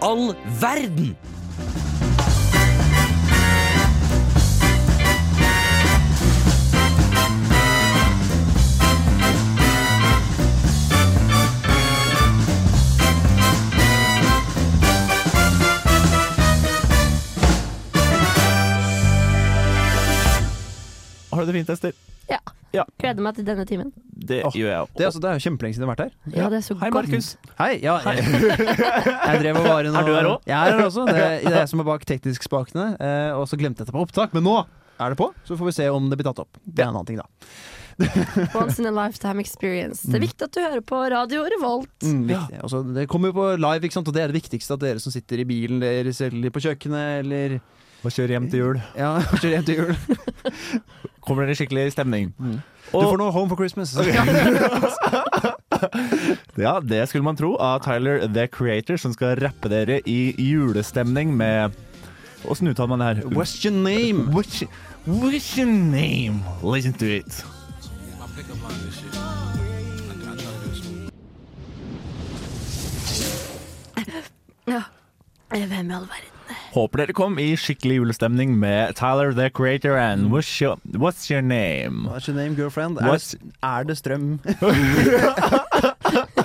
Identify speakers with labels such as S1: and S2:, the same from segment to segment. S1: all verden?
S2: Har du det fint, Ester?
S3: Ja.
S2: Ja.
S3: Gleder meg til denne timen.
S2: Det
S4: Åh,
S2: gjør jeg òg.
S4: Det er, altså, det er jo kjempelenge siden jeg har vært her.
S3: Ja, det er så
S2: Hei,
S3: godt.
S2: Markus.
S4: Hei! Ja, jeg, jeg drev og var i noe
S2: Er du her også?
S4: Jeg er her også. Det er, det er jeg som er bak teknisk-spakene. eh, Og så glemte jeg det på opptak, men nå er det på. Så får vi se om det blir tatt opp. Det er en annen ting, da.
S3: Once in a lifetime experience.
S2: Mm.
S3: Det er viktig at du hører på Radio Revolt.
S4: Mm, viktig. Også, det kommer jo på live, ikke sant? og det er det viktigste. At dere som sitter i bilen deres eller på kjøkkenet eller
S2: Og kjør hjem til jul.
S4: Ja, kjører hjem til jul.
S2: Kommer dere skikkelig i stemning?
S4: Mm. Du
S2: Og-
S4: får noe Home for Christmas.
S2: Ja, det skulle man tro av Tyler The Creator, som skal rappe dere i julestemning med Åssen uttaler man det her?
S4: What's your name?
S2: What's, what's your name? Listen to it.
S3: Ja. Eh, Hvem i all verden?
S2: Håper dere kom i skikkelig julestemning med Tyler The Creator and What's Your, what's your Name.
S4: What's your name, girlfriend? Er,
S2: What's-
S4: det- er det strøm?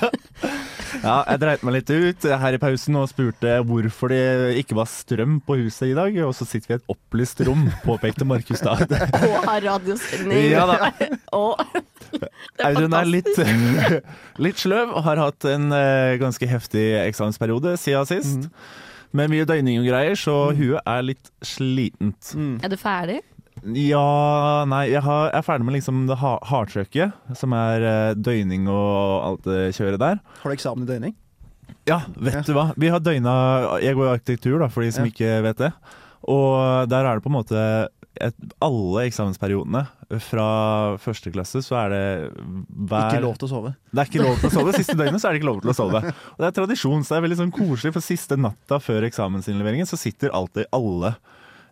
S2: Ja, jeg dreit meg litt ut her i pausen og spurte hvorfor det ikke var strøm på huset i dag. Og så sitter vi i et opplyst rom, påpekte Markus da.
S3: Og har radiosending.
S2: Ja da.
S3: Og
S2: Audun er litt, litt sløv og har hatt en eh, ganske heftig eksamensperiode siden sist.
S4: Mhm.
S2: Med mye døgning og greier, så huet er litt slitent.
S4: Mm.
S3: Er du ferdig?
S2: Ja, nei, jeg, har, jeg er ferdig med liksom det ha- hardtrøkket, som er eh, døgning og alt det kjøret der.
S4: Har du eksamen i døgning?
S2: Ja, vet du hva? Vi har døgna Jeg går i arkitektur, da, for de som
S4: Ja.
S2: ikke vet det. Og der er det på en måte et, Alle eksamensperiodene fra første klasse, så er det hver
S4: Ikke lov til å sove.
S2: Det er ikke lov til å sove. Siste døgnet så er det ikke lov til å sove. Og det er tradisjon, så det er veldig sånn koselig, for siste natta før eksamensinnleveringen så sitter alltid alle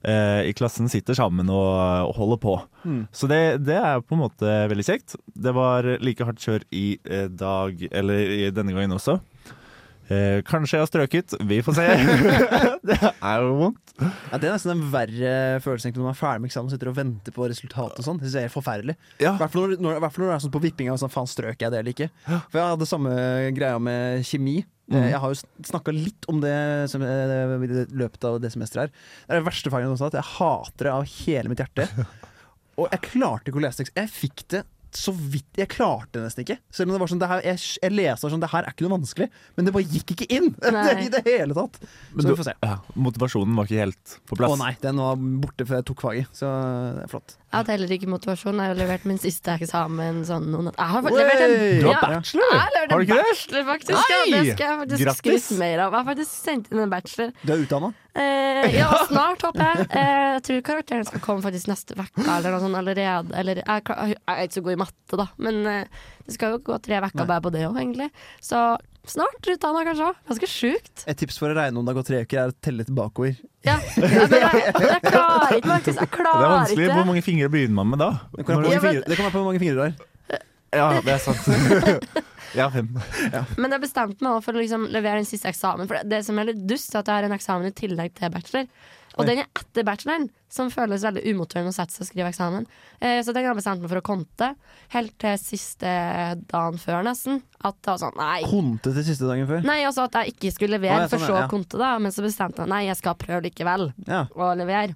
S2: eh, i klassen sitter sammen og, og holder på.
S4: Mm.
S2: Så det, det er på en måte veldig kjekt. Det var like hardt kjør i eh, dag, eller i denne gangen også. Eh, kanskje jeg har strøket, vi får se. det er jo vondt.
S4: Ja, det er nesten den verre følelsen egentlig, når man er ferdig med eksamen og sitter og venter på resultatet. og sånn. Det synes jeg er helt forferdelig.
S2: Ja.
S4: I hvert fall når, når, i hvert fall når det er sånn på vippinga. Sånn, faen, strøk jeg det eller ikke? For jeg hadde samme greia med kjemi. Eh, Jeg har jo snakka litt om det som, eh, i det- løpet av det semesteret her. Det er det verste faget jeg noensinne har hatt. Jeg hater det av hele mitt hjerte. Og jeg klarte ikke å lese tekst. Jeg fikk det så vidt Jeg klarte det nesten ikke. Selv om det var sånn, det her, jeg, jeg leste sånn, det her er ikke noe vanskelig. Men det bare gikk ikke inn!
S3: Nei.
S4: I det hele tatt. Så vi får se.
S2: Ja, motivasjonen var ikke helt på plass.
S4: Å nei, den var borte før jeg tok faget. Så det er flott.
S3: Jeg hadde heller ikke motivasjon. Jeg har levert min siste eksamen sånn noen Jeg har faktisk levert
S4: Oi!
S3: en
S2: Du har
S3: Ja,
S2: bachelor?
S3: Jeg har levert
S2: Har du
S3: en
S2: ikke det?
S3: bachelor, faktisk. Ja, det
S2: Nei!
S3: skal jeg faktisk
S2: Grattis!
S3: skryte mer av. Jeg har faktisk sendt inn en bachelor.
S4: Du er utdanna?
S3: Eh, ja, snart, håper jeg. Eh, jeg tror karakteren skal komme faktisk neste uke eller noe sånt allerede. Eller, jeg, er klar- jeg er ikke så god i matte, da, men eh, det skal jo gå tre uker bare på det òg, egentlig. Så snart utdanna, kanskje. også. Ganske sjukt.
S4: Et tips for å regne om det har gått tre uker, er å telle til bakover.
S3: Ja. ja, men jeg, jeg klarer ikke, Markus. Jeg
S2: Det er
S3: klarer
S2: vanskelig.
S3: ikke.
S2: Hvor mange fingre begynner man med da?
S4: Det kommer an på
S3: Ja,
S4: hvor mange
S3: men-
S4: fingre- det kommer an på hvor mange fingre du har.
S2: Ja, det er sant. Jeg har fem.
S3: Men jeg bestemte meg også for å liksom levere den siste eksamen. For det- det som er litt dust, er at jeg har en eksamen i tillegg til bachelor. Og den er etter bacheloren, som føles veldig umotiverende å sette seg og skrive eksamen. Eh, så den har jeg bestemt meg for å konte helt til siste dagen før, nesten. At det var sånn, nei.
S4: Konte til siste dagen før.
S3: Nei, altså at jeg ikke skulle levere,
S4: Å, ja,
S3: for
S4: sånn,
S3: så å
S4: ja.
S3: konte, da. Men så bestemte jeg nei, jeg skal prøve likevel
S4: Ja.
S3: å levere.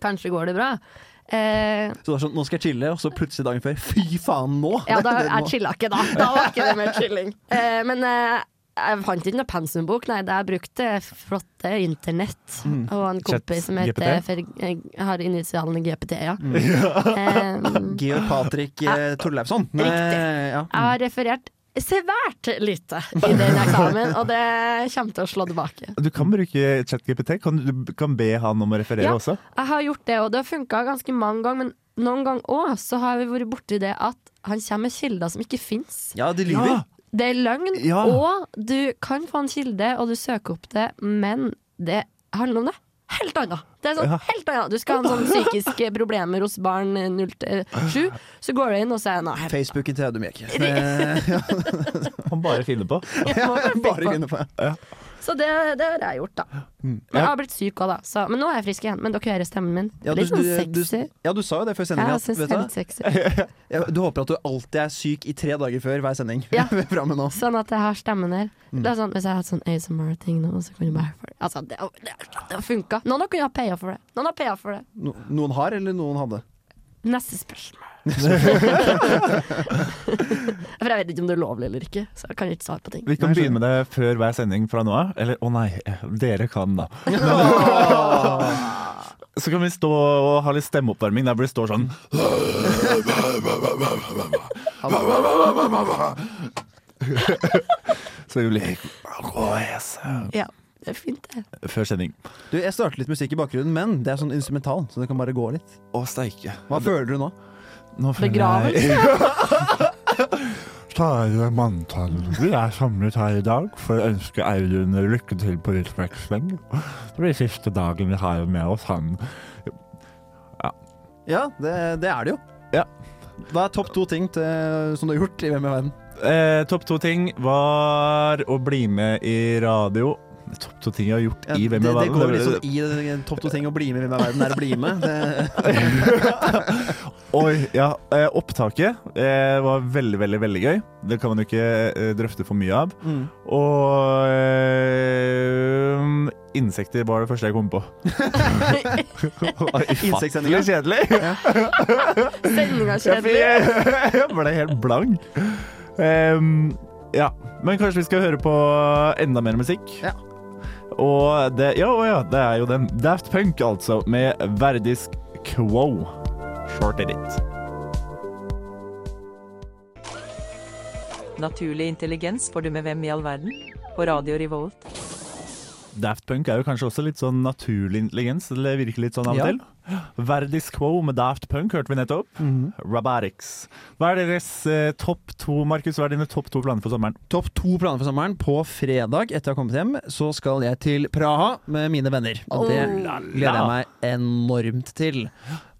S3: Kanskje går det bra. Eh,
S4: Så det var sånn, nå skal jeg chille, og så plutselig dagen før. Fy faen, nå!
S3: Ja, da
S4: Det- det-
S3: jeg
S4: nå.
S3: chilla ikke, da. Da var ikke det mer chilling. Eh, men eh, jeg fant ikke noe pensumbok, nei. Det jeg brukte eh, flotte internett og en kompis som
S2: Chat
S3: heter
S2: GPT?
S3: for, jeg har initialene GPT, ja. Eh,
S4: Georg Patrick eh, Torleifsson.
S3: Riktig.
S4: Eh, ja.
S3: jeg har referert svært lite i den eksamen, og det kommer til å slå tilbake.
S2: Du kan bruke ChatGPT. Kan du kan be han om å referere
S3: Ja.
S2: også?
S3: Jeg har gjort det, og det har funka ganske mange ganger, men noen ganger òg så har vi vært borti det at han kommer med kilder som ikke fins.
S4: ja, de lyver.
S3: Det er løgn,
S2: Ja.
S3: og du kan få en kilde, og du søker opp det, men det handler om det. Helt annet. Det er sånn,
S2: Ja.
S3: helt annet. Du skal ha en sånn psykiske problemer hos barn eh, 07, så går du inn og sier nei.
S4: Facebook i Tredje Mek. Eh,
S2: Han bare finner på.
S3: jeg må bare
S4: Bare Mm,
S3: finne på.
S4: finne på.
S3: Så det, det har jeg gjort, da. Men jeg har blitt syk òg, da. Så, men nå er jeg frisk igjen. Men dere hører stemmen min.
S4: Ja,
S3: Litt sånn sexy.
S4: ja, du sa jo det før
S3: Ja,
S4: sendingen.
S3: jeg
S4: at,
S3: syns det
S4: vet
S3: er
S4: du hva?
S3: litt sexy.
S4: Ja, Du håper at du alltid er syk i tre dager før hver sending.
S3: Ja.
S4: Fra med nå.
S3: Sånn at jeg har stemmen der.
S4: Mm.
S3: Det er sånn, hvis jeg hadde sånn ASMR-ting nå, så kunne jeg bare for, Altså, det, det, det funka. Noen har kunnet ha paya for det. Noen har paya for det.
S4: No, noen har, eller noen hadde.
S3: Neste spørsmål. For jeg vet ikke om det er lovlig eller ikke, så jeg kan ikke svare på ting.
S2: Vi kan
S4: Nei, skjønner.
S2: begynne med det før hver sending fra nå av. Eller å nei, dere kan da. Så kan vi stå og ha litt stemmeoppvarming der hvor det står sånn Så det blir
S3: Ja, det er fint, det.
S2: Før sending.
S4: Du, Jeg starter litt musikk i bakgrunnen, men det er sånn instrumental, så det kan bare gå litt.
S2: Å, steike.
S4: Hva føler du nå?
S2: Nå føler jeg
S3: Begravelse.
S2: Kjære manntall, vi er samlet her i dag for å ønske Audun lykke til på utveksling. Det blir siste dagen vi har med oss han.
S4: Ja, det, det er det jo.
S2: Ja.
S4: Hva er topp to ting til, som du har gjort i Hvem i verden?
S2: Eh, topp to ting var å bli med i radio. Topp to ting jeg har gjort
S4: Ja,
S2: i Hvem
S4: det,
S2: er
S4: det går
S2: verden.
S4: liksom i eh, topp to ting å bli med i Hvem i verden er å bli med. Det,
S2: Oi, ja. Eh, opptaket eh, var veldig, veldig veldig gøy. Det kan man jo ikke eh, drøfte for mye av.
S4: mm.
S2: Og eh, insekter var det første jeg kom på.
S4: Insektsendinga.
S2: Ufattelig kjedelig.
S3: Sendinga er
S2: Jeg,
S3: kjedelig.
S2: fikk- jeg ble helt blank. Ehm, ja, men kanskje vi skal høre på enda mer musikk?
S4: Ja.
S2: Og det, ja, å ja, det er jo den Daft Punk, altså, med verdisk quo. Short edit.
S1: Naturlig intelligens får du med hvem i all verden? På Radio Revolt.
S2: Daft Punk er jo kanskje også litt sånn naturlig intelligens. Det virker litt sånn av og
S4: Ja.
S2: til. Verdisk quo med Daft Punk hørte vi nettopp.
S4: Mhm.
S2: Robotics. Hva er deres eh, topp to, Markus? Hva er dine topp to planer for sommeren?
S4: Topp to planer for sommeren. På fredag etter å ha kommet hjem, så skal jeg til Praha med mine venner. Og det
S3: Oh.
S4: gleder jeg meg enormt til.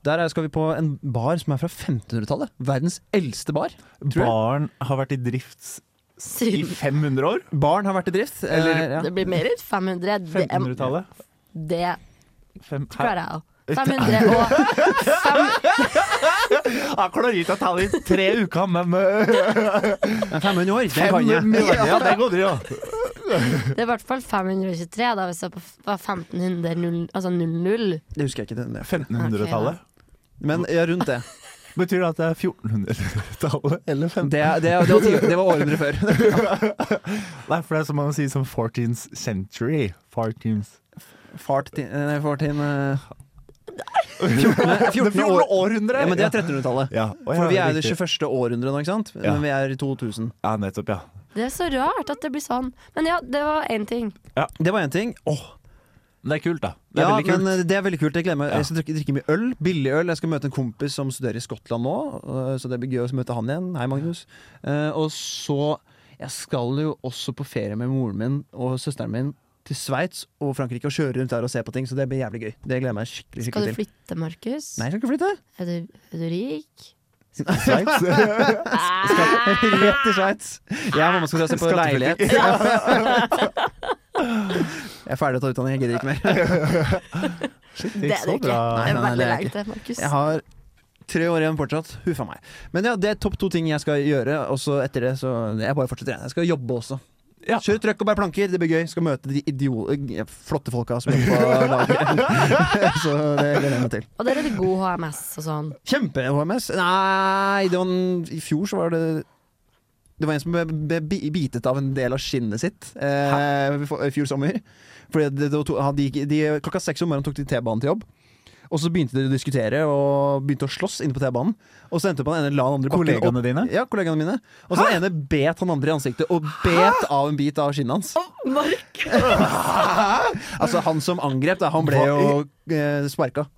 S4: Der er- skal vi på en bar som er fra 1500-tallet. Verdens eldste bar. Tror jeg.
S2: Baren har vært i drift i
S3: Siden
S2: 500 år.
S4: Baren har vært i drift. eh, ja.
S3: det blir mer enn 500. Det,
S2: 1500-tallet.
S3: det
S2: Fem- her-
S3: klarer jeg òg. 500 og
S2: Jeg klarer ikke å ta det i tre uker, men uh,
S4: Men 500 år, det
S2: fem
S4: kan jeg.
S2: millioner, ja, det går det jo.
S3: Det er i hvert fall 523, da, hvis det var 1500, null- altså 00.
S4: Det husker jeg ikke. den-
S2: 1500-tallet.
S4: Men ja, rundt det.
S2: Betyr det at det er 1400-tallet? Eller 15?
S4: Det, det, det, var, ti- det var århundret før.
S2: Nei, for det er som man sier som 14th century. 14th.
S4: Fart in, nei, fart in eh, 14. 14. år.
S2: århundre!
S4: Ja, men det er 1300-tallet.
S2: ja. Å, ja,
S4: For vi er i det
S2: riktig.
S4: 21. århundret nå, ikke sant?
S2: Ja.
S4: Men vi er i 2000.
S2: Ja, nettopp, ja.
S3: Det er så rart at det blir sånn. Men ja, det var én ting.
S4: Det var én ting. Åh,
S2: Det er kult, da. Det er
S4: Ja,
S2: veldig kult.
S4: men eh, det er veldig kult. Jeg, gleder meg.
S2: Ja.
S4: jeg skal drikke, drikke mye øl. Billig øl. Jeg skal møte en kompis som studerer i Skottland nå, eh, så det blir gøy å møte han igjen. Hei, Magnus. Eh, Og så Jeg skal jo også på ferie med moren min og søsteren min til Sveits og Frankrike og kjøre rundt der og se på ting, så det blir jævlig gøy. Det gleder jeg meg skikkelig,
S3: Skal du
S4: skikkelig til.
S3: flytte, Markus?
S4: Nei, jeg skal ikke flytte.
S3: Er du, er du rik? Ah.
S4: Rett til Sveits. Jeg og mamma skal dra og se på leilighet. Jeg er ferdig å ta utdanning, jeg gidder ikke mer.
S2: Shit,
S3: Det er du ikke. Det er
S4: Nei,
S3: veldig
S4: nei, det er jeg
S3: langt, det, Markus.
S4: Jeg har tre år igjen fortsatt. Huffa meg. Men ja, det er topp to ting jeg skal gjøre. Og så etter det, så Jeg bare fortsetter, jeg. Jeg skal jobbe også.
S2: Ja.
S4: Kjøre trøkk og bære planker. Det blir gøy. Skal møte de idio eh, flotte folka som jobber på laget. så det gleder jeg meg til.
S3: Og der er det god HMS og sånn.
S4: Kjempe-HMS. Nei, det var en, i fjor så var det det var en som ble, ble bi- bitet av en del av skinnet sitt eh, for- i fjor sommer. Fordi det, det, var to- han- de, gikk- de, klokka seks om morgenen tok de T-banen til jobb. Og så begynte de å diskutere og begynte å slåss inne på T-banen. Og så endte på den ene la den andre i bakken,
S2: Kollegaene
S4: og-
S2: dine?
S4: Ja, kollegaene mine. Og så den ene bet han andre i ansiktet, og bet av en bit av skinnet hans. Altså, han som angrep, da, han ble
S2: Hva
S4: jo
S2: i-
S4: eh, sparka.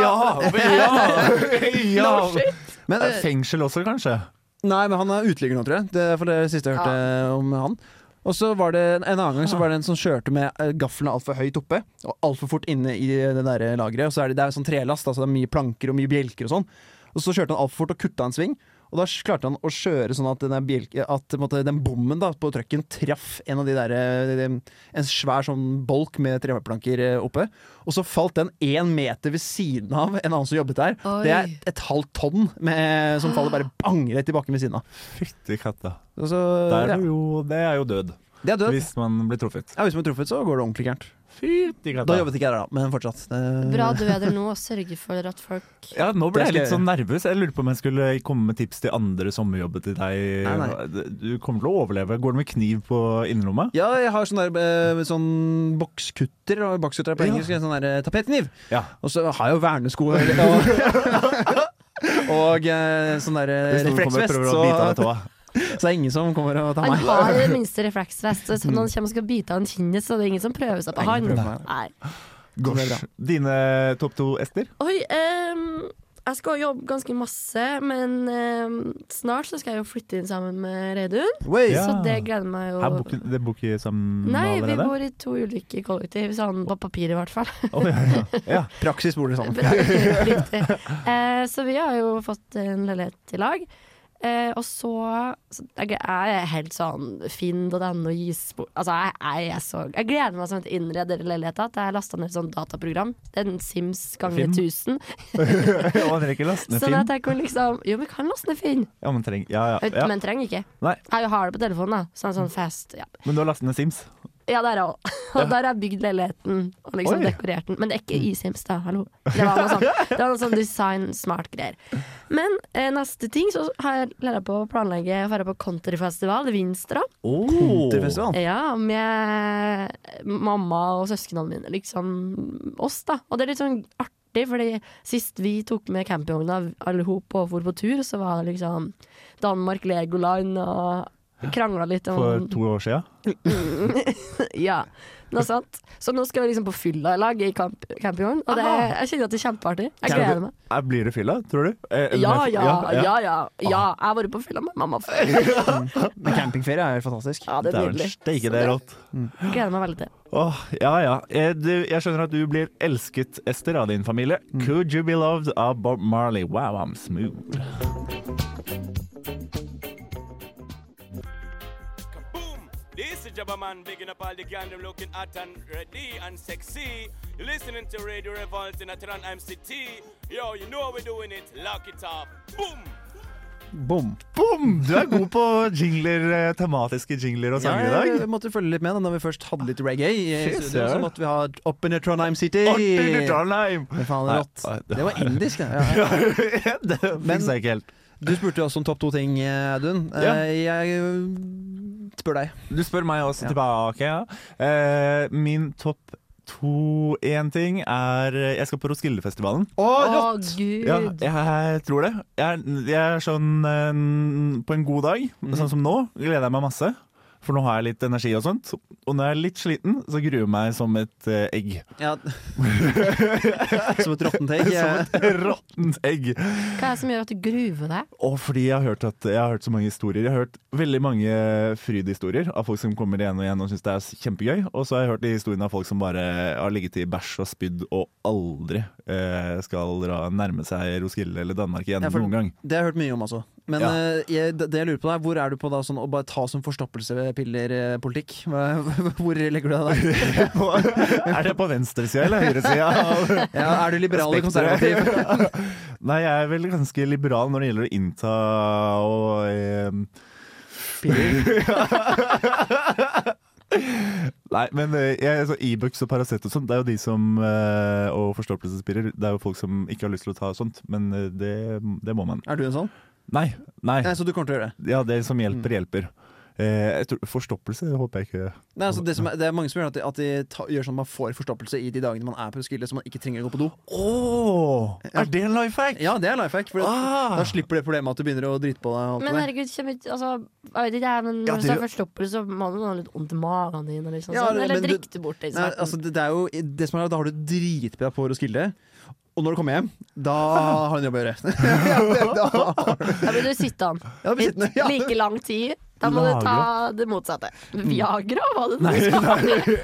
S2: ja.
S3: No shit.
S4: Men, eh,
S2: Fengsel også, kanskje?
S4: Nei, men han er uteligger nå, tror jeg. Det er for det siste jeg hørte om han. Og så var det En annen gang så var det en som kjørte med eh, gaffelen altfor høyt oppe og altfor fort inne i eh, det der lageret. Og så er det, det er jo sånn trelast, altså det er mye planker og mye bjelker og sånn. Og så kjørte han altfor fort og kutta en sving. Og da klarte han å kjøre sånn at den, der bjelke- at, på en måte, den bommen da, på trucken traff en av de der eh, En svær sånn bolk med treplanker eh, oppe. Og så falt den én meter ved siden av en annen som jobbet der.
S3: Oi.
S4: Det er et halvt tonn med, som faller bare bang rett i bakken ved siden av.
S2: Fytti katta.
S4: Og Så,
S2: Det er,
S4: ja.
S2: jo, det er jo død,
S4: Det er død.
S2: hvis man blir truffet.
S4: Ja, hvis man er truffet, så går det ordentlig gærent.
S2: Fytti
S4: Da jobbet ikke jeg der, da, men fortsatt. Det-
S3: Bra du er der nå og sørger for at folk
S2: Ja, nå ble
S4: Det
S2: jeg litt
S4: skal
S2: sånn nervøs. Jeg lurte på om jeg skulle komme med tips til andre sommerjobber til deg.
S4: Nei, nei.
S2: Du kommer til å overleve. Går det med kniv på innerlomma?
S4: Ja, jeg har sånn der eh, sånn bokskutter, og bokskutter er på
S2: Ja.
S4: engelsk, en sånn der eh, tapetkniv.
S2: Ja.
S4: Og så har jeg jo vernesko eller- og, og eh, sånn der eh,
S2: Hvis noen kommer og
S4: refleksvest,
S2: prøver
S4: så,
S2: å bite av deg tåa.
S4: så er det ingen som kommer og tar
S3: Han
S4: meg.
S3: har i det minste refleksvest. Så når han kommer og skal bite av en kinnet, så det er ingen som prøver seg på
S4: Ingen
S3: han.
S4: prøver på meg.
S3: Nei.
S4: Det er
S2: Gosh.
S4: bra.
S2: Dine topp to, Ester?
S3: Oi, ehm, jeg skal jobbe ganske masse, men ehm, snart så skal jeg jo flytte inn sammen med Reidun.
S4: Wait.
S2: Ja.
S3: Så det gleder meg jo.
S2: Her bor ikke- det bor ikke sammen
S3: Nei, vi
S2: allerede?
S3: bor i to ulike kollektiv, sånn på papir i hvert fall.
S2: Å, ja, ja. ja.
S4: Praksis bor dere sammen.
S3: Bra, riktig. Eh, så vi har jo fått en leilighet i lag. Eh, og så, så Jeg er helt sånn finn.no, gisbord Altså, jeg, jeg er så Jeg gleder meg sånn til å innrede leiligheta at jeg lasta ned et sånt dataprogram. Det er en Sims ganger
S2: Finn?
S3: 1000.
S2: Og han rekker lasten
S3: Sånn at jeg kan liksom Jo, vi kan laste ned Finn,
S2: Ja, men treng, ja, ja, ja.
S3: men trenger ikke.
S2: Nei,
S3: Jeg har det på telefonen, da. Sånn, sånn fast Ja,
S2: men du har lastet ned Sims.
S3: ja der er jeg òg. Og der har jeg bygd leiligheten og liksom
S2: Oi. Mm.
S3: dekorert den. Men det er ikke i Sims, da. Hallo. Det var noe sånn, det var noe sånn design, smart greier. Men eh, neste ting så har jeg lært på å planlegge å dra på countryfestival i Vinstra.
S4: Vinterfestival.
S3: Ja, med mamma og søsknene mine, liksom oss, da. Og det er litt sånn artig, fordi sist vi tok med campingvogna alle hop og for på tur, så var det liksom Danmark, Legoland og krangla litt om
S2: For to år siden.
S3: ja, noe sånt. Så nå skal vi liksom på fylla i lag i camp campingvogn. Og det,
S2: Aha.
S3: jeg kjenner at det er kjempeartig. Jeg gleder meg.
S2: Eh, Blir det fylla, tror du? Eh,
S3: Ja,
S2: eller-
S3: ja, ja, ja. ja. Jeg har vært på fylla med mamma før.
S4: Men campingferie er jo fantastisk.
S3: Ja, det er
S2: Dæven
S3: nydelig.
S2: steike, det er rått.
S3: Jeg gleder meg veldig til.
S2: Åh, ja ja. Eh, Du, jeg skjønner at du blir elsket, Ester, av din familie. Could you be loved av Bob Marley? Wow, I'm smooth.
S5: Boom! This is Jabba Man bigging up all the gang, them looking hot and ready and sexy. You're listening to Radio Revolt in Atran MCT. Yo, you know how we're doing it. Lock it up. Boom!
S4: Bom.
S2: Boom! Du er god på jingler, eh, tematiske jingler og sanger i
S4: Jeg
S2: dag.
S4: måtte følge litt med da når vi først hadde litt reggae. i
S2: Fy
S4: studio, Så
S2: søren.
S4: måtte vi ha Up in the Trondheim City.
S2: Artig litt Trondheim!
S4: Men faen, det er rått.
S2: Nei, det-
S4: Det var indisk, det. Ja, ja.
S2: det
S4: Men-
S2: fikk jeg ikke helt.
S4: Du spurte også om topp to ting, Audun.
S2: Ja.
S4: Eh, Jeg eh, spør deg.
S2: Du spør meg også tilbake. Ja. Eh, min topp to én ting er eh, Jeg skal på Roskildefestivalen.
S3: Å,
S2: Ja,
S3: gud.
S2: jeg tror det. Jeg, er- jeg er sånn eh, På en god dag, sånn som nå, gleder jeg meg masse. For nå har jeg litt energi og sånt. Og når jeg er litt sliten, så gruer jeg meg som et eh, egg.
S4: Ja. Som et råttent egg. eh,
S2: Som et råttent egg.
S3: Hva er det som gjør at du gruver deg?
S2: Og fordi jeg har, hørt at, jeg har hørt så mange historier. Jeg har hørt veldig mange frydhistorier av folk som kommer igjen og igjen og syns det er kjempegøy. Og så har jeg hørt de historiene av folk som bare har ligget i bæsj og spydd og aldri eh, skal dra, nærme seg Roskilde eller Danmark igjen
S4: Ja, for-
S2: noen gang.
S4: Det har jeg hørt mye om, altså. Men
S2: Ja.
S4: eh, jeg, det det jeg lurer på da, er, hvor er du på da sånn å bare ta som forstoppelsepiller-politikk? Hvor legger du deg der?
S2: er det på venstresida eller høyresida?
S4: Ja, er du liberal eller
S2: Spektrum.
S4: konservativ?
S2: Nei, jeg er vel ganske liberal når det gjelder å innta og eh, Nei, men eh, jeg, så e-books og Paracet og sånt, det er jo de som eh, Og forståelsespirer, det er jo folk som ikke har lyst til å ta sånt, men eh, det, det må man.
S4: Er du en sånn?
S2: Nei, nei.
S4: Nei, så du kommer til å gjøre det?
S2: Ja, Mm. det som hjelper, hjelper. Eh, jeg tror, forstoppelse håper jeg ikke
S4: Nei, altså det, som er, det er mange som gjør at de, at de ta, gjør sånn at man får forstoppelse i de dagene man er på Roskilde, så man ikke trenger å gå på do.
S2: Å! Er det en life hack?
S4: Ja, det er life hack. For
S2: Ah.
S4: Da slipper det problemet at du begynner å drite på deg. og alt
S3: Men
S4: det der.
S3: herregud, kommer ikke altså, Jeg vet ikke, jeg, men
S2: Ja,
S3: når du
S2: det-
S3: har forstoppelse, så må du ha litt vondt i magen din, eller, liksom,
S4: Ja,
S3: sånn, eller
S4: men du-
S3: drikke bort den
S4: Nei,
S3: smerten.
S4: altså, det, det er jo, det som er, da har du dritbra på Roskilde. Og når du kommer hjem, da har du en jobb å gjøre.
S3: Da blir du sittende
S4: Ja, vi sitter-
S3: i like lang tid Da må du
S2: Lagra.
S3: ta det motsatte. Viagra, var det
S2: Nei,
S3: det du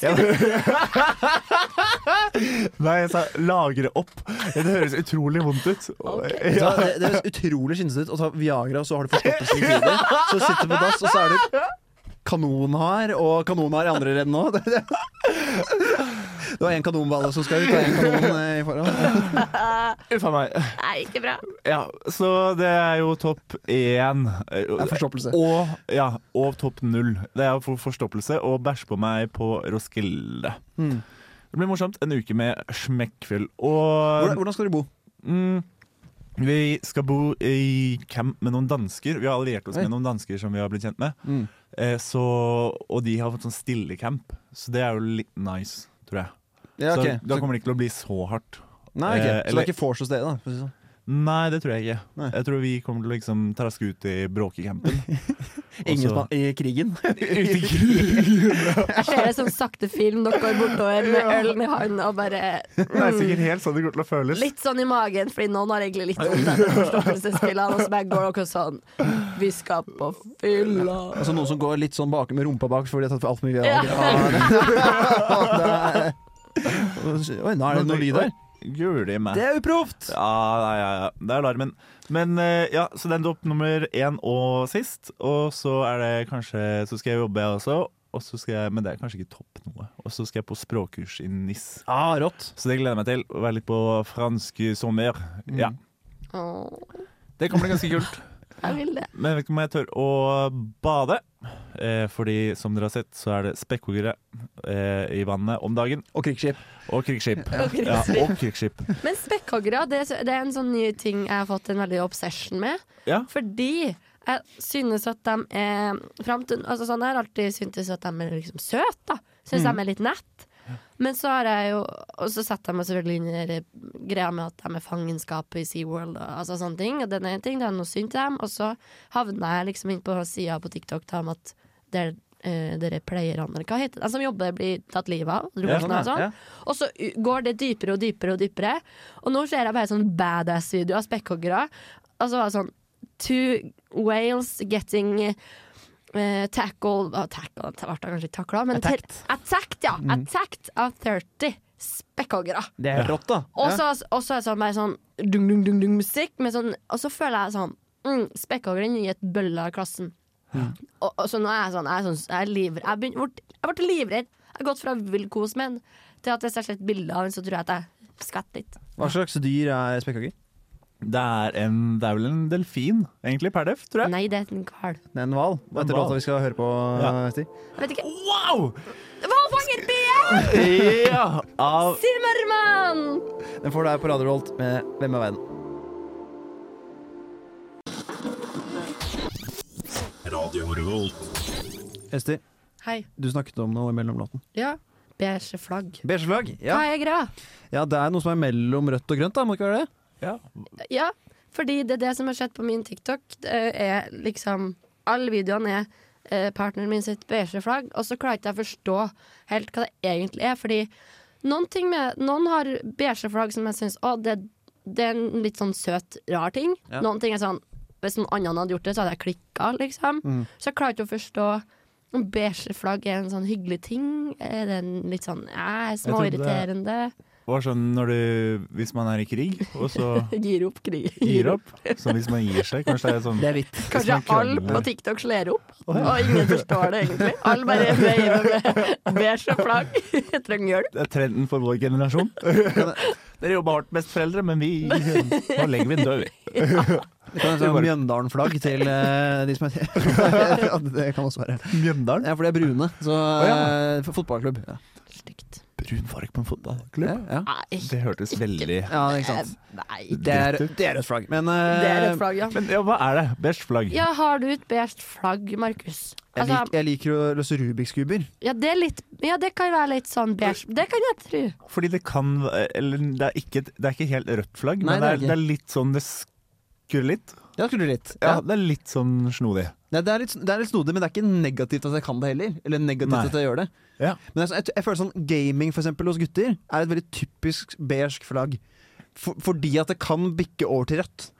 S3: sa?
S2: Nei, jeg sa lagre opp. Det høres utrolig vondt ut.
S3: Ok.
S4: Så
S2: Ja,
S4: det, det høres utrolig skinnete ut å ta Viagra, og så har du forstoppelse i livet. Så sitter du på dass, og så er du kanonhard, og kanonhard i andre redden òg. Det det var én kanonballe som skal ut, og én kanon eh, i forhånd.
S2: Uff a meg.
S3: Nei, ikke bra.
S2: Ja, så det er jo topp én.
S4: Det er forstoppelse.
S2: Og, ja, og topp null. Det er for forstoppelse og bæsj på meg på Roskilde.
S4: Mm.
S2: Det blir morsomt. En uke med smekkfyll. Og
S4: Hvordan, hvordan skal du bo?
S2: mm, vi skal bo i camp med noen dansker. Vi har alliert oss
S4: Oi.
S2: med noen dansker som vi har blitt kjent med.
S4: Mm.
S2: Eh, så, og de har fått sånn stillecamp, så det er jo litt nice, tror jeg.
S4: Ja, ok.
S2: Så da
S4: Så,
S2: kommer det ikke til å bli så hardt.
S4: nei, ok.
S2: eh,
S4: så det er ikke vors hos dere, da? for å si det sånn.
S2: Nei, det tror jeg ikke.
S4: Nei.
S2: Jeg tror vi kommer til å liksom traske ut i bråkecampen.
S4: Ingen som er i krigen?
S2: Ut i krigen!
S3: Jeg ser en sånn sakte film dere går bortover med ølen i hånden og bare
S2: Det er sikkert helt sånn det går til å føles.
S3: Litt sånn i magen, fordi noen har egentlig litt vondt etter forstoppelsesfyllene, og så bare går dere sånn Vi skal på fylla.
S4: Altså Noen som går litt sånn bak med rumpa bak fordi de har tatt for altfor mye
S3: Ja.
S4: Viagra. Ja. Oi, nå er det noe lyd her.
S2: Guri meg.
S4: Det er uproft!
S2: Ja, ja, ja, ja. Det er alarmen. Men eh, ja, så den topp nummer én og sist. Og så er det kanskje Så skal jeg jobbe, jeg også. Og så skal jeg, men det er kanskje ikke topp noe. Og så skal jeg på språkkurs i NIS.
S4: Ah, rått.
S2: Så det gleder jeg meg til. Å være litt på fransk sommer. Ja.
S3: Åh,
S2: Det kommer til å bli ganske kult.
S3: jeg vil det.
S2: Men jeg vet ikke om jeg tør å bade. Eh, fordi som dere har sett, så er det spekkhoggere eh, i vannet om dagen.
S4: Og krigsskip.
S2: Og krigsskip. Ja,
S3: krigsskip.
S2: og krigsskip.
S3: Men spekkhoggere, det, er så- det er en sånn ny ting jeg har fått en veldig obsession med.
S2: Ja.
S3: Fordi jeg synes at de er frem til, altså sånn, Jeg har alltid syntes at de er liksom søte. da. Syns de er litt nett. Men så har jeg jo Og så setter jeg meg selvfølgelig inn i det greia med at de er fangenskap i SeaWorld og altså sånne ting. Og den er en ting, det er noe synd til dem. Og så havna jeg liksom inn på sida på TikTok da, om at der, eh, dere pleierne, eller hva heter det, de som jobber, blir tatt livet av.
S2: Ja,
S3: druknet og
S4: sånn,
S3: sånn.
S4: ja.
S3: Og så u- går det dypere og dypere og dypere. Og nå ser jeg bare sånn badass-video av spekkhoggere. Og så var det sånn Two whales getting eh, tackled uh, Tackled det ble kanskje ikke takla, men til-
S4: Attacked.
S3: attacked, ja.
S2: Mm.
S3: Attacked av 30 spekkhoggere.
S4: Det er rått, da.
S3: Og så og så er det sånn, bare sånn dung-dung-dung-dung-musikk. Sånn, og så føler jeg sånn mm, Spekkhoggeren gir et bølle av klassen. Og, og så nå er jeg sånn Jeg er, sånn, jeg er livredd. Jeg begyn- vort- jeg ble livredd. Jeg har gått fra vill kos med den til at hvis jeg ser et bilde av den, så tror jeg at jeg skvetter litt.
S4: Hva slags dyr er spekkhogger?
S2: Det er, en, det er vel en delfin, egentlig, per def, tror jeg.
S3: Nei, det er en hval.
S4: Det er en hval. Hva heter
S2: En hval.
S4: låta vi skal høre på?
S2: Ja.
S4: Stig?
S3: Jeg vet ikke.
S2: Wow!
S3: Hvalfanger BM!
S2: Ja! Av
S3: Timmermann!
S4: Den får du her på Radio Rolt med Hvem er verden? Ester,
S3: Hei.
S4: du snakket om noe mellom låten.
S3: Ja. Beige flagg.
S4: Beige flagg? Ja.
S3: Hva er greia?
S4: ja, det er noe som er mellom rødt og grønt, da. Må det ikke være det?
S2: ja.
S3: Ja, fordi det er det som har skjedd på min TikTok. Det er liksom Alle videoene er eh, partneren min sitt beige flagg, og så klarer ikke jeg å forstå helt hva det egentlig er. Fordi noen, ting med, noen har beige flagg som jeg syns Å, det, det er en litt sånn søt, rar ting.
S4: Ja.
S3: Noen ting er sånn Hvis noen annen hadde gjort det, så hadde jeg klikka, liksom. Så jeg klarer ikke å forstå om beige flagg er en sånn hyggelig ting. Er det en litt sånn eh,
S2: trodde det-
S3: småirriterende?
S2: var sånn når du Hvis man er i krig, og så
S3: Gir opp krig.
S2: gir opp. Så hvis man gir seg, kanskje det er sånn
S4: Det er hvitt.
S2: Hvis
S3: Kanskje
S2: man
S3: alle
S2: krangler.
S3: på TikTok slår opp, og ingen forstår det egentlig. Alle bare veiver med beige flagg. Jeg trenger hjelp.
S2: Det er trenden for vår generasjon. Dere jobber hardt, besteforeldre, men vi Nå legger vi en død, vi.
S4: Det kan være sånn Mjøndalen-flagg til eh, de som er ja, Det kan også være.
S2: Mjøndalen.
S4: Ja, for de er brune. Så
S2: ja.
S4: eh, fotballklubb. Ja.
S3: Stygt.
S2: Brun farge på en
S4: Ja,
S2: fotballklubb.
S4: ja.
S3: Nei.
S2: Det hørtes veldig
S4: ja, ikke
S3: Eh,
S4: sant.
S3: Nei.
S4: Det er, det er rødt flagg. Men eh,
S3: Det er et flagg, ja.
S2: Men ja, hva er det? Beige flagg.
S3: Ja, har du et beige flagg, Markus?
S4: jeg, lik,
S3: Altså,
S4: jeg liker å løse Rubiks kuber.
S3: ja, det er litt, ja, det kan være litt sånn beige. Det kan jeg tro.
S2: Fordi det kan Eller det er ikke, det er ikke helt rødt flagg,
S4: Nei,
S2: men
S4: det
S2: det
S4: er
S2: er, det er litt sånn Det skurrer litt.
S4: Ja, skulle du litt.
S2: Ja,
S4: Ja.
S2: det er litt sånn snodig.
S4: Nei, Det, er litt, det er litt snodig, men det er ikke negativt at jeg kan det heller. Eller negativt
S2: Nei.
S4: at jeg gjør det.
S2: Ja.
S4: Men jeg, jeg, jeg føler sånn gaming for eksempel, hos gutter er et veldig typisk beige flagg. For, fordi at det kan bikke over til rødt.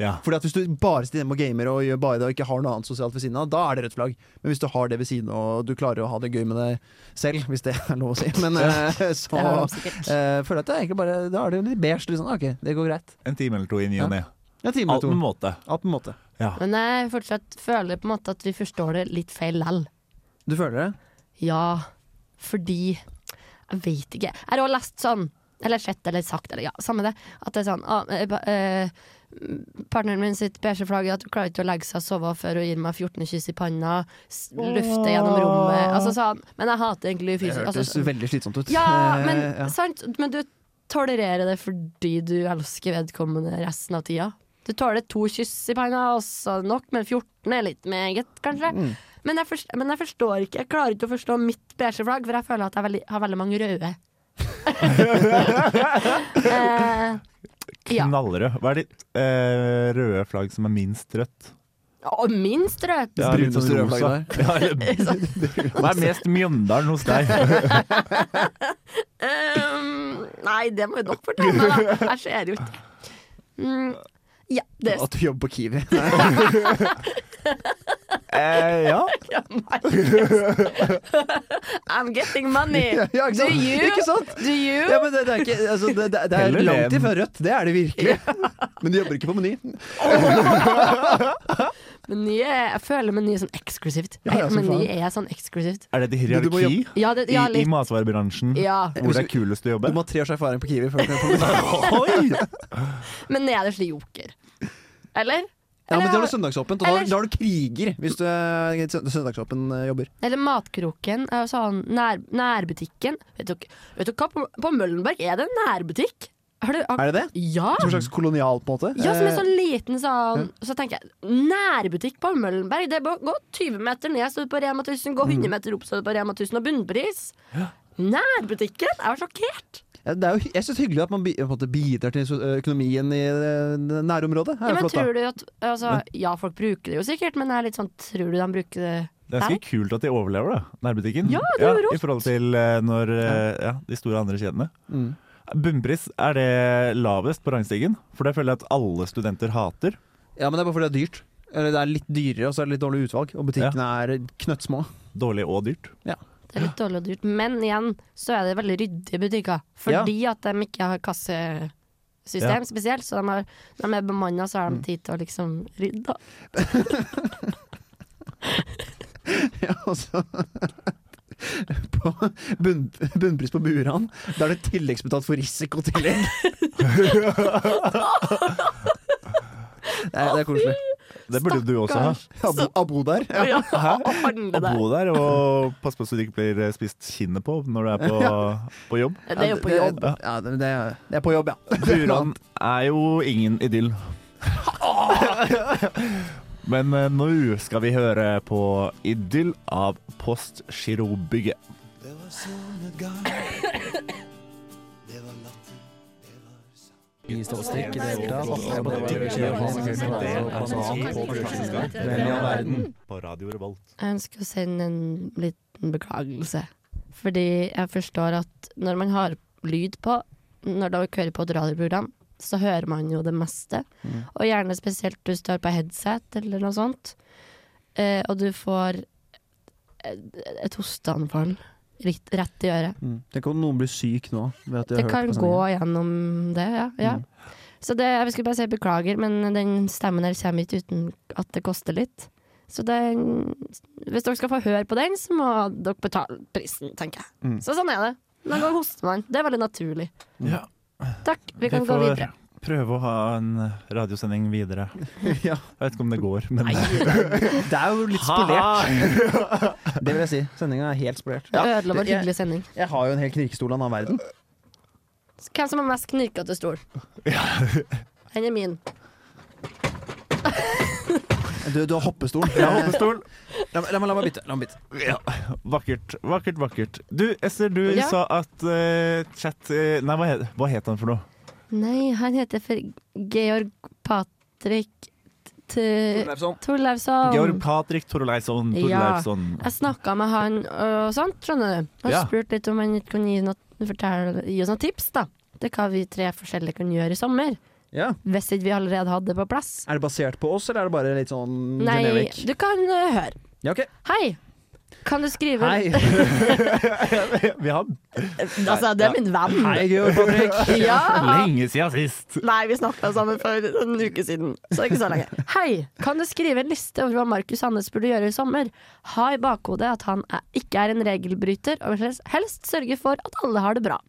S2: Ja.
S4: Fordi at Hvis du bare sitter hjemme og gamer og gjør bare det og ikke har noe annet sosialt ved siden av, da er det rødt flagg. Men hvis du har det ved siden og du klarer å ha det gøy med deg selv, hvis det er lov å si, men eh, så
S3: Det har de sikkert.
S4: eh, føler jeg at det er egentlig bare Da er det jo litt beige. Liksom. Ok, det går greit.
S2: En time eller to i ny og ne.
S4: En time
S2: Alt
S4: eller
S2: med
S4: to.
S2: måte.
S4: Alt på en måte.
S2: Ja.
S3: Men jeg fortsatt føler på en måte at vi forstår det litt feil lell.
S4: Du føler det?
S3: Ja, fordi Jeg vet ikke. Jeg har også lest sånn, eller sett eller sagt, eller ja, samme det, at det er sånn ah, eh, pa- eh, Partneren min sitt beige flagg er at hun klarer ikke å legge seg og sove før hun gir meg 14 kyss i panna, s- lufte gjennom rommet Altså sånn. Men jeg hater egentlig
S4: Det
S3: fysisk
S4: hørtes
S3: altså, sånn.
S4: veldig slitsomt ut.
S3: Ja,
S4: Eh,
S3: men
S4: ja.
S3: sant Men du tolererer det fordi du elsker vedkommende resten av tida Du tåler to kyss i panna Også nok, men 14 er litt meget Kanskje
S4: Mm.
S3: men, jeg forstår, men jeg forstår ikke Jeg klarer ikke å forstå mitt beige flagg For jeg føler at jeg veldig, har veldig mange røde eh, Ja
S2: Knallrød. Hva er ditt eh, røde flagg som er minst rødt?
S3: Og minst rødt
S2: Ja, litt
S4: Bruneste
S2: sånn
S4: røde flagget
S2: rosa. Ja, eller- Hva er mest Mjøndalen hos deg?
S3: Ehm, Nei, det må jo dere fortelle meg da Jeg ser jo ikke mm, Ja, det
S4: At du jobber på Kiwi. Nei.
S2: Eh, ja.
S3: Ja, Markus. I'm getting money.
S4: Ja, ikke
S3: Do
S4: sant?
S3: you?
S4: Ikke sant?
S3: Do you?
S4: Ja, men det, det er, ikke, altså, det, det, det er
S2: Heller
S4: langt
S2: det.
S4: ifra rødt, det er det virkelig. Men de jobber ikke på Meny.
S3: Men nye, jeg føler meny er sånn eksklusivt.
S4: Ja, ja, som
S3: men nye
S4: faen.
S3: er sånn eksklusivt.
S2: Er det et
S4: Du må
S2: hierarki
S3: Ja, det, ja,
S2: i, i
S3: litt.
S2: matvarebransjen
S3: Ja.
S2: hvor det er kulest å
S4: Du
S2: jobbe?
S4: må ha tre års erfaring på Kiwi. Før du kan komme deg.
S2: Oi!
S3: Men nye er det slik joker. Eller?
S4: ja,
S3: Eller-
S4: men Da har du søndagsåpent, og da,
S3: Eller-
S4: da er du kriger hvis du er sø- søndagsåpen eh, jobber.
S3: Eller Matkroken. er jo Sånn, nær, nærbutikken. Vet dere, vet dere hva, på, på Møllenberg er det en nærbutikk. Har du, har,
S4: Er det det?
S3: Ja!
S4: Som en slags kolonial, på en måte?
S3: Ja, som en sånn
S4: Eh,
S3: liten sånn Så tenker jeg, nærbutikk på Møllenberg Det er bare å gå 20 meter ned, så er du på Rema 1000 Gå
S4: Mm.
S3: 100 meter opp, så er du på Rema 1000 Og bunnpris Nærbutikken, jeg var sjokkert
S4: Eh, det er jo, jeg syns hyggelig at man bi, på en måte bidrar til so- økonomien i eh, nærområdet.
S3: ja,
S4: Er jo
S3: men,
S4: flott, da.
S3: tror du at, altså, ja, folk bruker det jo sikkert Men jeg er litt sånn, tror du de bruker det
S2: Det er ganske kult at de overlever, da. Nærbutikken.
S3: Ja, det er jo
S2: I forhold til eh, når eh, ja, de store andre kjedene.
S4: Mm.
S2: Bunnpris, er det lavest på rangstigen? For det føler jeg at alle studenter hater.
S4: Ja, men det er bare fordi det er dyrt. Eller det er litt dyrere, og så er det litt dårlig utvalg. Og butikkene er knøttsmå.
S2: Dårlig og dyrt.
S3: Det er litt dårlig og dyrt Men igjen, så er det veldig ryddige butikker Fordi at de ikke har kassesystem spesielt Så de, har, når de er bemannet så
S4: Mm.
S3: har de tid til å liksom rydde da.
S4: Ja, altså på bunn, bunnpris på Buran, da er det tilleggsbetalt for risikotillegg. Nei, det er koselig.
S2: Det burde du også ha.
S4: Abo, abo der. Ja.
S3: Ja, og handle
S2: Å
S3: der
S2: bo der og passe på så du ikke blir eh, spist kinnet på når du er på, på jobb.
S3: Det er jo på jobb
S4: Ja, det, det, er- det er på jobb, ja.
S2: Buran er jo ingen idyll. Men eh, nå skal vi høre på Idyll av Postgirobygget.
S6: Det var solnedgang. Det var latter. Det var sang.
S2: På Radio Revolt.
S3: Jeg ønsker å sende en liten beklagelse. Fordi jeg forstår at når man har lyd på, når dere hører på et radioprogram, så hører man jo det meste. Og gjerne spesielt du står på headset eller noe sånt, eh, og du får et, et hosteanfall litt rett i øret.
S4: Tenk om noen blir syk nå. Ved at de
S3: Det
S4: har
S3: kan
S4: hørt på
S3: gå
S4: sendingen.
S3: gjennom det, ja. ja. Så det, jeg skulle bare si beklager, men den stemmen her kommer ikke uten at det koster litt. Så den, hvis dere skal få høre på den, så må dere betale prisen, tenker jeg. Så sånn er det. Noen ganger hoster man. Det er veldig naturlig.
S2: Ja,
S3: Takk, vi kan gå
S2: vi får
S3: videre.
S2: Prøve å ha en radiosending videre.
S4: Ja.
S2: Jeg vet ikke om det går, men
S4: Det er jo litt spolert.
S2: Spolert.
S4: Det vil jeg si. Sendinga er helt spolert.
S3: Ødela vår
S4: jeg,
S3: hyggelige sending.
S4: jeg har jo en hel knirkestol av en annen verden.
S3: Hvem som har mest knirkete stol? Den er min.
S4: Du, du har hoppestol.
S2: Ja, hoppestol.
S4: La, meg- la, meg- la meg bytte. La meg bytte.
S2: Ja. Vakkert, vakkert, vakkert. Du, Ester, du
S3: Ja.
S2: sa at eh, chat eh, Nei, hva het, hva het han for noe?
S3: Nei, han heter for Georg Patrik T- Torleifsson.
S2: Georg Patrik Torleifsson.
S3: Um, Ja.
S2: Torleifsson.
S3: Jeg snakka med han og sånt, skjønner du. Han
S2: Ja.
S3: spurte litt om han ikke kunne gi, noe, fortelle, gi oss noen tips, da. Til hva vi tre forskjellige kan gjøre i sommer.
S4: Ja.
S3: Hvis ikke vi allerede hadde det på plass.
S4: Er det basert på oss, eller er det bare litt sånn
S3: Nei,
S4: generic?
S3: du kan eh, høre.
S4: Ja, ok.
S3: Hei! Kan du skrive
S4: Hei.
S2: Vi har
S3: Altså, det er min venn.
S4: Hei, Georg Patrick.
S3: Ja!
S2: lenge siden sist.
S3: Nei, vi snakka sammen for en uke siden, så ikke så lenge. Hei, kan du skrive en liste over hva Markus Hannes burde gjøre i sommer? Ha i bakhodet at han er, ikke er en regelbryter, og vil helst- helst sørge for at alle har det bra.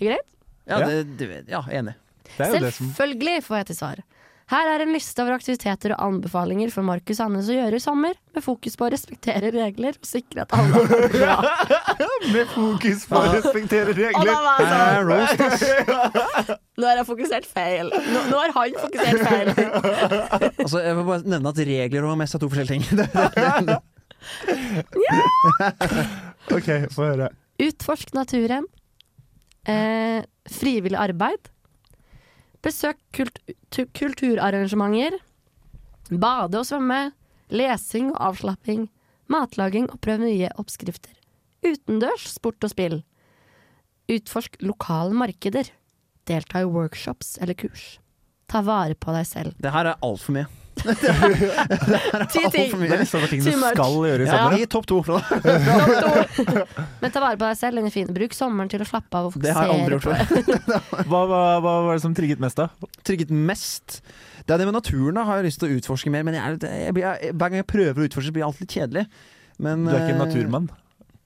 S3: Er det greit?
S4: Ja,
S2: Ja.
S4: det, du- ja, enig.
S2: Det er jo det som
S3: Selvfølgelig får jeg til svar. Her er en liste over aktiviteter og anbefalinger for Markus Hannes å gjøre i sommer, med fokus på å respektere regler og sikre at alle har det bra.
S2: Med fokus på å respektere
S3: Og da
S2: regler.
S3: var jeg sånn,
S4: Eh, roast, ass.
S3: nå har jeg fokusert feil. Nå, nå har han fokusert feil.
S4: Altså, jeg vil bare nevne at regler og mest er to forskjellige ting. Det-
S2: OK, få høre.
S3: Utforsk naturen. Eh, frivillig arbeid. Besøk kult tu- kulturarrangementer. Bade og svømme. Lesing og avslapping. Matlaging og prøv nye oppskrifter. Utendørs sport og spill. Utforsk lokale markeder. Delta i workshops eller kurs. Ta vare på deg selv.
S4: Det her er altfor mye.
S3: Ti ting!
S2: Det er liksom ting du
S3: Too much.
S2: skal gjøre i
S4: Ja.
S2: sommer.
S4: I topp to. for da.
S3: Men ta vare på deg selv, den er fin. Bruk sommeren til å slappe av og
S4: Det har jeg aldri
S3: fokusere
S4: gjort
S3: på
S4: før.
S2: Hva, hva, hva var det som trigget mest, da?
S4: Trygget mest. Det er det med naturen, da. Har jeg lyst til å utforske mer. Men jeg er, litt- jeg blir, jeg, hver gang jeg prøver å utforske, blir jeg alltid litt kjedelig. Men,
S2: Du er ikke en
S4: eh,
S2: naturmann?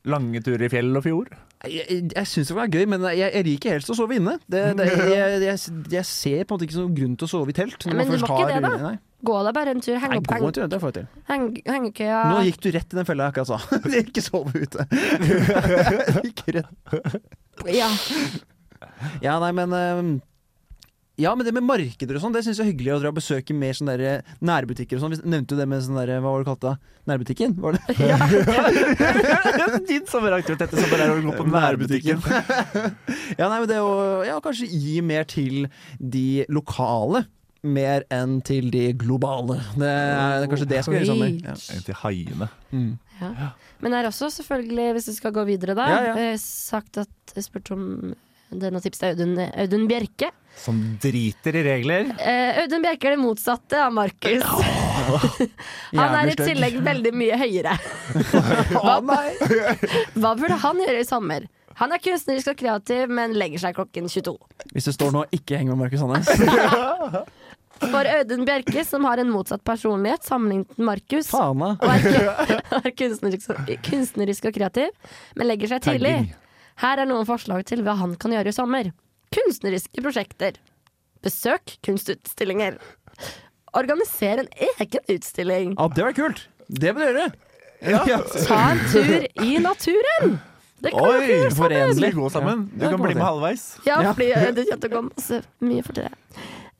S2: Lange turer i fjell og fjord?
S4: Jeg, jeg, jeg syns det var gøy, men jeg, jeg liker helst å sove inne. Det, det, jeg, jeg, jeg ser på en måte ikke noen grunn til å sove i telt.
S3: Men det
S4: først
S3: var ikke
S4: har-
S3: det, da.
S4: Nei,
S3: Gå deg bare en tur. Heng
S4: nei
S3: opp
S4: gå
S3: heng,
S4: en tur, det får jeg til.
S3: heng, hengekøya.
S4: Nå gikk du rett i den fella jeg akkurat sa. ikke sove ute. gikk rett
S3: Ja.
S4: Ja, nei, men ehm, Ja, men det med markeder og sånn, det syns jeg er hyggelig å dra og besøke mer sånne der nærbutikker og sånn. Vi nevnte jo det med sånn derre Hva var det du kalte det? Nærbutikken? Var det?
S2: Din sommeraktivitet i sommer er å gå på nærbutikken.
S4: Ja, nei, men det å ja, kanskje gi mer til de lokale. Mer enn til de globale. Det er kanskje det jeg skal gjøre i sommer. Ja.
S2: Til haiene.
S3: Ja. Men er også selvfølgelig, hvis du skal gå videre da,
S4: Ja, ja.
S3: eh, sagt at jeg spurte om denne tipset er Audun, Audun Bjerke.
S2: Som driter i regler.
S3: Eh, Audun Bjerke er det motsatte av Markus. Han er i
S4: Jævlig stygg.
S3: tillegg veldig mye høyere. Hva, hva burde han gjøre i sommer? Han er kunstnerisk og kreativ, men legger seg klokken 22.
S4: Hvis det står nå 'ikke heng med Markus Hannes',
S3: For Audun Bjerke, som har en motsatt personlighet sammenlignet med Markus,
S4: faen da.
S3: og er, er kunstnerisk, kunstnerisk og kreativ, men legger seg tidlig.
S2: Tagging.
S3: Her er noen forslag til hva han kan gjøre i sommer. Kunstneriske prosjekter. Besøk kunstutstillinger. Organiser en egen utstilling.
S4: Ja, det var kult! Det bør du gjøre!
S3: Ta en tur i naturen! Det kan dere
S2: Oi,
S3: gjøre sammen.
S2: forenlig. Gå sammen. Du
S4: Ja,
S2: kan
S4: på en
S2: bli med
S4: måte.
S2: halvveis.
S3: Ja,
S4: Ja.
S3: fordi eh, det kjente å gå masse mye for det.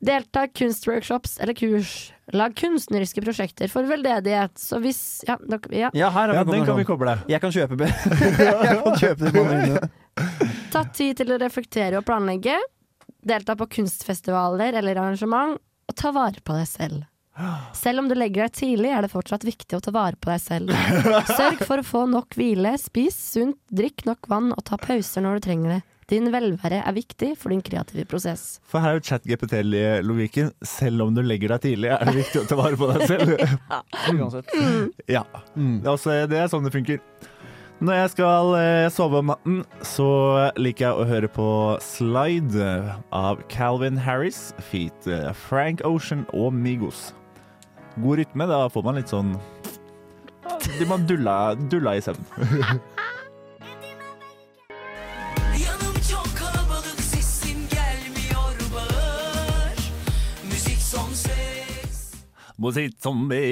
S3: Delta i kunstworkshops eller kurs. Lag kunstneriske prosjekter for veldedighet. Så hvis Ja, dere, ja.
S4: Ja, her
S2: Ja,
S4: har vi
S2: den kan vi
S4: kombinasjonen.
S2: koble.
S4: Jeg kan kjøpe be- Jeg kan kjøpe de mandariner.
S3: Ta tid til å reflektere og planlegge. Delta på kunstfestivaler eller arrangement. Og ta vare på deg selv. Selv om du legger deg tidlig, er det fortsatt viktig å ta vare på deg selv. Sørg for å få nok hvile, spis sunt, drikk nok vann og ta pauser når du trenger det. Din velvære er viktig for din kreative prosess.
S2: For her er jo chat-GPT-logikken. Selv om du legger deg tidlig, er det viktig å ta vare på deg selv.
S4: Uansett.
S2: Ja. Altså, det er sånn det funker. Når jeg skal eh, sove om natten, så liker jeg å høre på Slide av Calvin Harris, feat eh, Frank Ocean og Migos. God rytme, da får man litt sånn De man dulla, dulla i søvn.
S7: Yanım çok kalabalık sesim gelmiyor bağır Müzik son ses
S2: Musikk som vi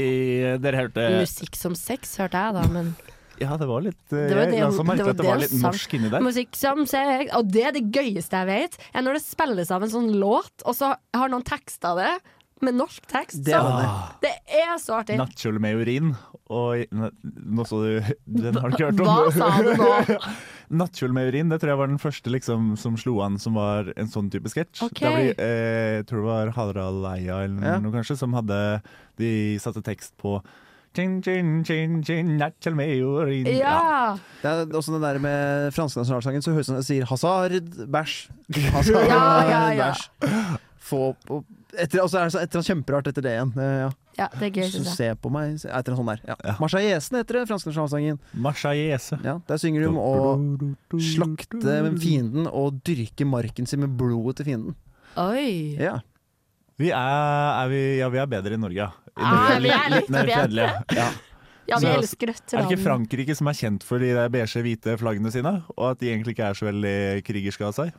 S2: Dere hørte
S3: Musikk som sex, hørte jeg da, men
S2: Ja, det var litt eh,
S3: Det var det
S2: Jeg også
S3: hun- det
S2: merket
S3: var
S2: at det
S3: det
S2: var
S3: hun
S2: litt
S3: sa.
S2: norsk inni der.
S3: Musikk som sex, og det er det gøyeste jeg vet, er når det spilles av en sånn låt, og så har noen teksta det med norsk tekst.
S4: Det
S3: så-
S4: var det.
S3: det er så artig.
S2: Nattkjole med urin. Og ne- nå så du Den har du ikke hørt om?
S3: Hva sa du nå?
S2: Nattkjole med urin, det tror jeg var den første liksom, som slo an som var en sånn type sketsj.
S3: Ok.
S2: Der vi, eh, jeg tror det var Harald Eia eller
S4: Ja.
S2: noe kanskje, som hadde De satte tekst på Chin, chin, chin, chin, nattkjole med urin.
S3: Ja.
S4: Det er også det der med franske nasjonalsangen, så høres det ut som jeg sier hasard, bæsj. Hasard,
S3: Ja, ja, ja.
S4: bæsj. få opp og etter, altså, er det så- et eller annet kjemperart etter det igjen. Eh, ja.
S3: Ja, det er gøy,
S4: Så
S3: synes jeg.
S4: se på meg se, Et eller annet sånt der. Ja.
S2: Ja.
S4: Marseillaisen heter det, franske nasjonalsangen.
S2: Marseillaise.
S4: Ja, der synger de om å slakte fienden og dyrke marken sin med blodet til fienden.
S3: Oi!
S4: Ja.
S2: Vi er, er vi, ja, vi er bedre i Norge, ja. I
S3: Ah,
S2: Norge er
S3: vi er litt
S2: mer
S3: bedre.
S2: fredelige. Ja.
S3: Ja, vi
S2: Så-
S3: elsker dette
S2: Er det ikke
S3: landet.
S2: Frankrike som er kjent for de der beige, hvite flaggene sine? Og at de egentlig ikke er så veldig krigerske av seg?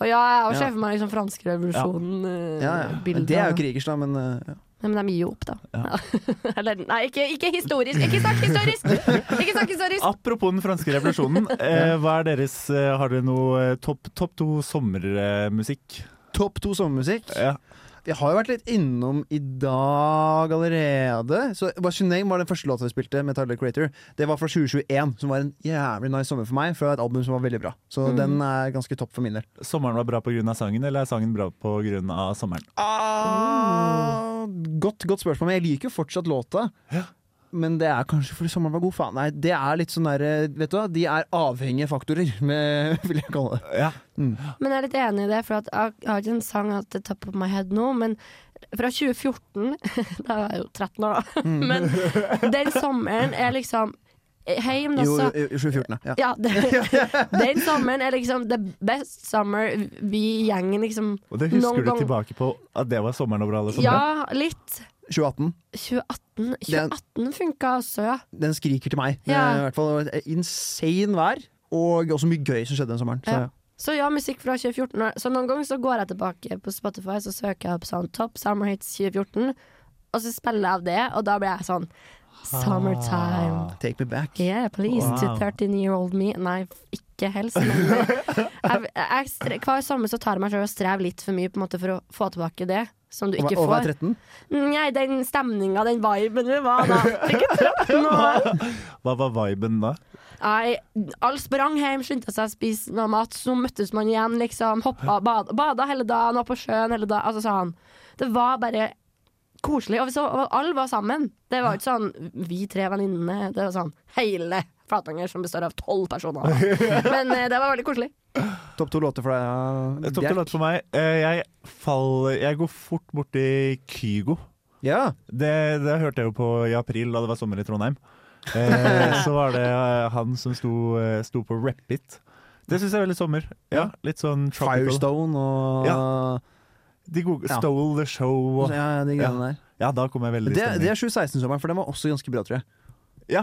S3: Og ja, jeg har
S4: Ja.
S3: sett for meg liksom fransk revolusjon-bildet.
S4: Ja, ja. Men Det er jo krigers, da, men eh, ja.
S3: Nei, men de gir jo opp, da. Eller, nei, ikke, ikke historisk! Ikke snakk historisk! Ikke snakk historisk!
S2: Apropos den franske revolusjonen. Eh, hva er deres, eh, Har dere noe eh, topp topp to sommermusikk?
S4: Topp to sommermusikk.
S2: Ja.
S4: Vi har jo vært litt innom i dag allerede. Så What's Your Name var den første låta vi spilte med Tyler the Creator. Det var fra 2021, som var en jævlig nice sommer for meg, fra et album som var veldig bra. Så den er ganske topp for min del.
S2: Sommeren var bra pga. sangen, eller er sangen bra pga. sommeren?
S4: Ah, godt, godt spørsmål, men jeg liker jo fortsatt låta. Men det er kanskje fordi sommeren var god, faen. Nei, det er litt sånn der eh, Vet du hva, de er avhengige faktorer, med, vil jeg kalle det.
S2: Ja.
S4: Ah.
S3: Men jeg er litt enig i det, for at jeg jeg har ikke en sang at det top of my head nå, men fra 2014 Da var jeg jo 13 år, da.
S4: Mm.
S3: Men den sommeren er liksom Heim, da,
S4: Jo,
S3: så
S4: i- i 2014, ja.
S3: Ja, det, den sommeren er liksom the best summer vi i gjengen liksom
S2: Og det husker
S3: noen
S2: du
S3: gang-
S2: tilbake på at det var sommeren over
S4: Sånn,
S2: alle somre?
S3: Ja, litt.
S4: 2018.
S3: 2018 2018 funka også, ja.
S4: Den skriker til meg.
S3: Ja.
S4: Eh, I hvert fall det var et Insane vær, og også mye gøy som skjedde den sommeren. Så,
S3: Ja. Så ja, musikk fra 2014. Så noen ganger så går jeg tilbake på Spotify Så søker jeg opp sånn Top Summer Hits 2014, og så spiller jeg av det, og da blir jeg sånn Summertime.
S4: Take me back.
S3: Yeah, please,
S2: Wow.
S3: to 13 year old me. Nei, f- ikke helst, men eh, jeg, jeg, stre- Hver sommer så tar jeg meg selv og strever litt for mye på en måte for å få tilbake det som du
S4: Og
S3: ikke
S4: og hva er
S3: får. Mm,
S4: 13?
S3: Nei, den stemninga, den viben vi var da. Ikke trøtt nå.
S2: Hva var viben da?
S3: Nei, alle sprang hjem, skyndte seg å spise noe mat, så møttes man igjen, liksom. Hoppa, bada, bada hele dagen, var på sjøen hele dagen. Altså, sa han. Det var bare koselig. Og, vi så, og alle var sammen. Det var ikke sånn vi tre venninnene. Det var sånn hele Flatanger, som består av tolv personer. Men eh, det var veldig koselig.
S4: Topp to låter for deg? ja.
S2: Topp
S4: Bjerk.
S2: til låt for meg. Eh, Jeg, fall, jeg går fort borti Kygo.
S4: Ja.
S2: Det, det hørte jeg jo på i april, da det var sommer i Trondheim. Eh, så var det eh, han som sto, eh, sto på Rap It. Det syns jeg er veldig sommer. Ja, litt sånn tropical.
S4: Firestone og
S2: De gode,
S4: Ja.
S2: Stole the Show og
S4: ja, de greiene der.
S2: Ja, da kom jeg veldig i
S4: Det, det
S2: stemning.
S4: er 2016-sommeren, for den var også ganske bra, tror jeg.
S2: Ja,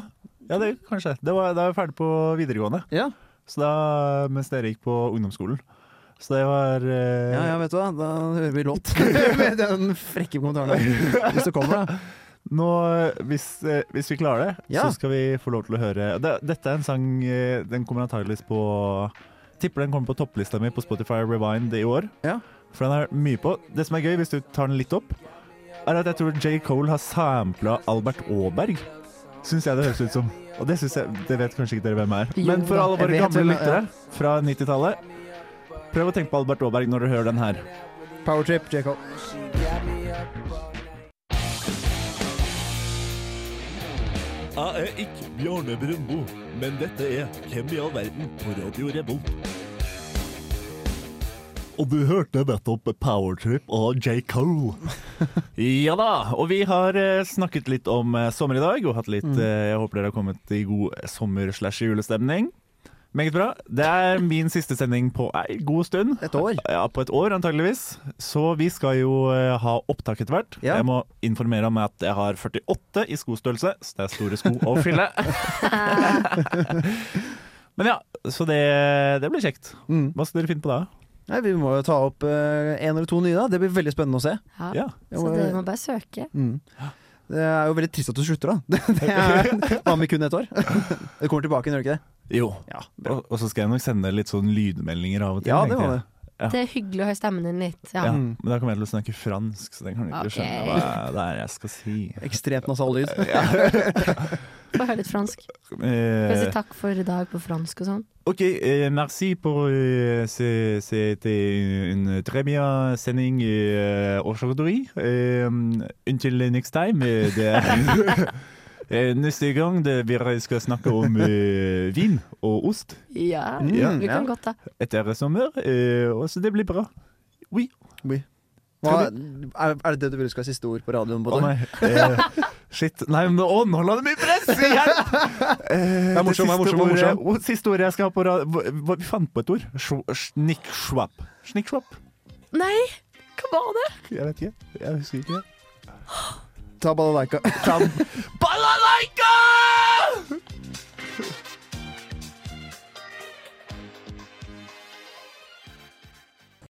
S2: ja det, kanskje. Det var, da var jeg ferdig på videregående,
S4: Ja,
S2: så da, mens dere gikk på ungdomsskolen. Så det var eh,
S4: ja, ja vet du hva, da hører vi låt. Med den frekke kommentaren der. Hvis det kommer, da.
S2: Nå, hvis, eh, hvis vi klarer det,
S4: Ja.
S2: så skal vi få lov til å høre det, Dette er en sang eh, Den kommer antageligvis på Tipper den kommer på topplista mi på Spotify Rewind i år.
S4: Ja.
S2: For den har jeg hørt mye på. Det som er gøy, hvis du tar den litt opp, er at jeg tror J. Cole har sampla Albert Aaberg. Syns jeg det høres ut som. Og det, synes jeg, det vet kanskje ikke dere hvem er.
S3: Jo
S2: Men for
S3: da,
S2: alle våre
S4: jeg vet
S2: gamle
S4: hvem-
S2: lyttere fra 90-tallet, prøv å tenke på Albert Aaberg når dere hører den her.
S4: Powertrip, J. Cole.
S8: Jeg er ikke Bjarne Brøndbo, men dette er Hvem i all verden på Radio Revolt.
S2: Og du hørte nettopp Powertrip av J. Cole. ja da, og vi har eh, snakket litt om eh, sommer i dag, og hatt litt eh, Jeg håper dere har kommet i god eh, sommer-slash-julestemning. Meget bra. Det er min siste sending på ei god stund.
S4: Et år.
S2: Ja, på et år antageligvis. Så vi skal jo eh, ha opptak etter hvert.
S4: Ja.
S2: Jeg må informere om at jeg har 48 i skostørrelse, så det er store sko å fylle. Men ja, så det, det blir kjekt.
S4: Mm.
S2: Hva skal dere finne på da?
S4: Nei, vi må jo ta opp eh, en eller to nye, da. Det blir veldig spennende å se.
S3: Ja.
S2: Ja. Mm.
S3: Så det må bare søke.
S4: Det er jo veldig trist at du slutter, da. Det er, hva med kun et år? Du kommer tilbake, gjør du ikke det?
S2: Jo.
S4: Ja,
S2: Og, og så skal jeg nok sende litt sånn lydmeldinger av og til.
S4: Ja, det Mm.
S2: tenkte
S4: var
S2: jeg.
S4: det.
S3: Det er hyggelig å høre stemmen din litt.
S2: Ja,
S3: Ja.
S2: men da kommer jeg til å snakke fransk, så den kan du ikke
S3: Ok.
S2: skjønne hva det er jeg skal si.
S4: Ekstremt nasal lyd.
S3: Få høre litt fransk. Få si
S2: Eh,
S3: takk for i dag på fransk og sånn.
S2: ok, eh, merci pour eh, c'est- C'était une très bien sending eh, aujourd'hui. Eh, until next time. eh, Det er Eh, Neste gang det, vi skal snakke om eh, vin og ost
S3: Ja,
S4: Mm,
S3: vi kan
S4: ja.
S3: godt da.
S2: euh, etter sommer, eh, og så det blir bra. Oui.
S4: Hva, er, er det det du ville skal være siste ord på radioen?
S2: Å
S4: Bård?
S2: nei. Eh, shit. Nei, men å, nå la det mye press! Hjelp! Eh,
S4: er morsom, det er morsom, det er
S2: siste ordet- å, Siste ordet jeg skal ha på rad... hva- hva- Vi fant på et ord. Snikkschwapp. Snikkschwapp?
S3: Nei, hva var det?
S2: Jeg vet ikke. Jeg husker ikke.
S4: Ta balalaika.
S2: Balalaika!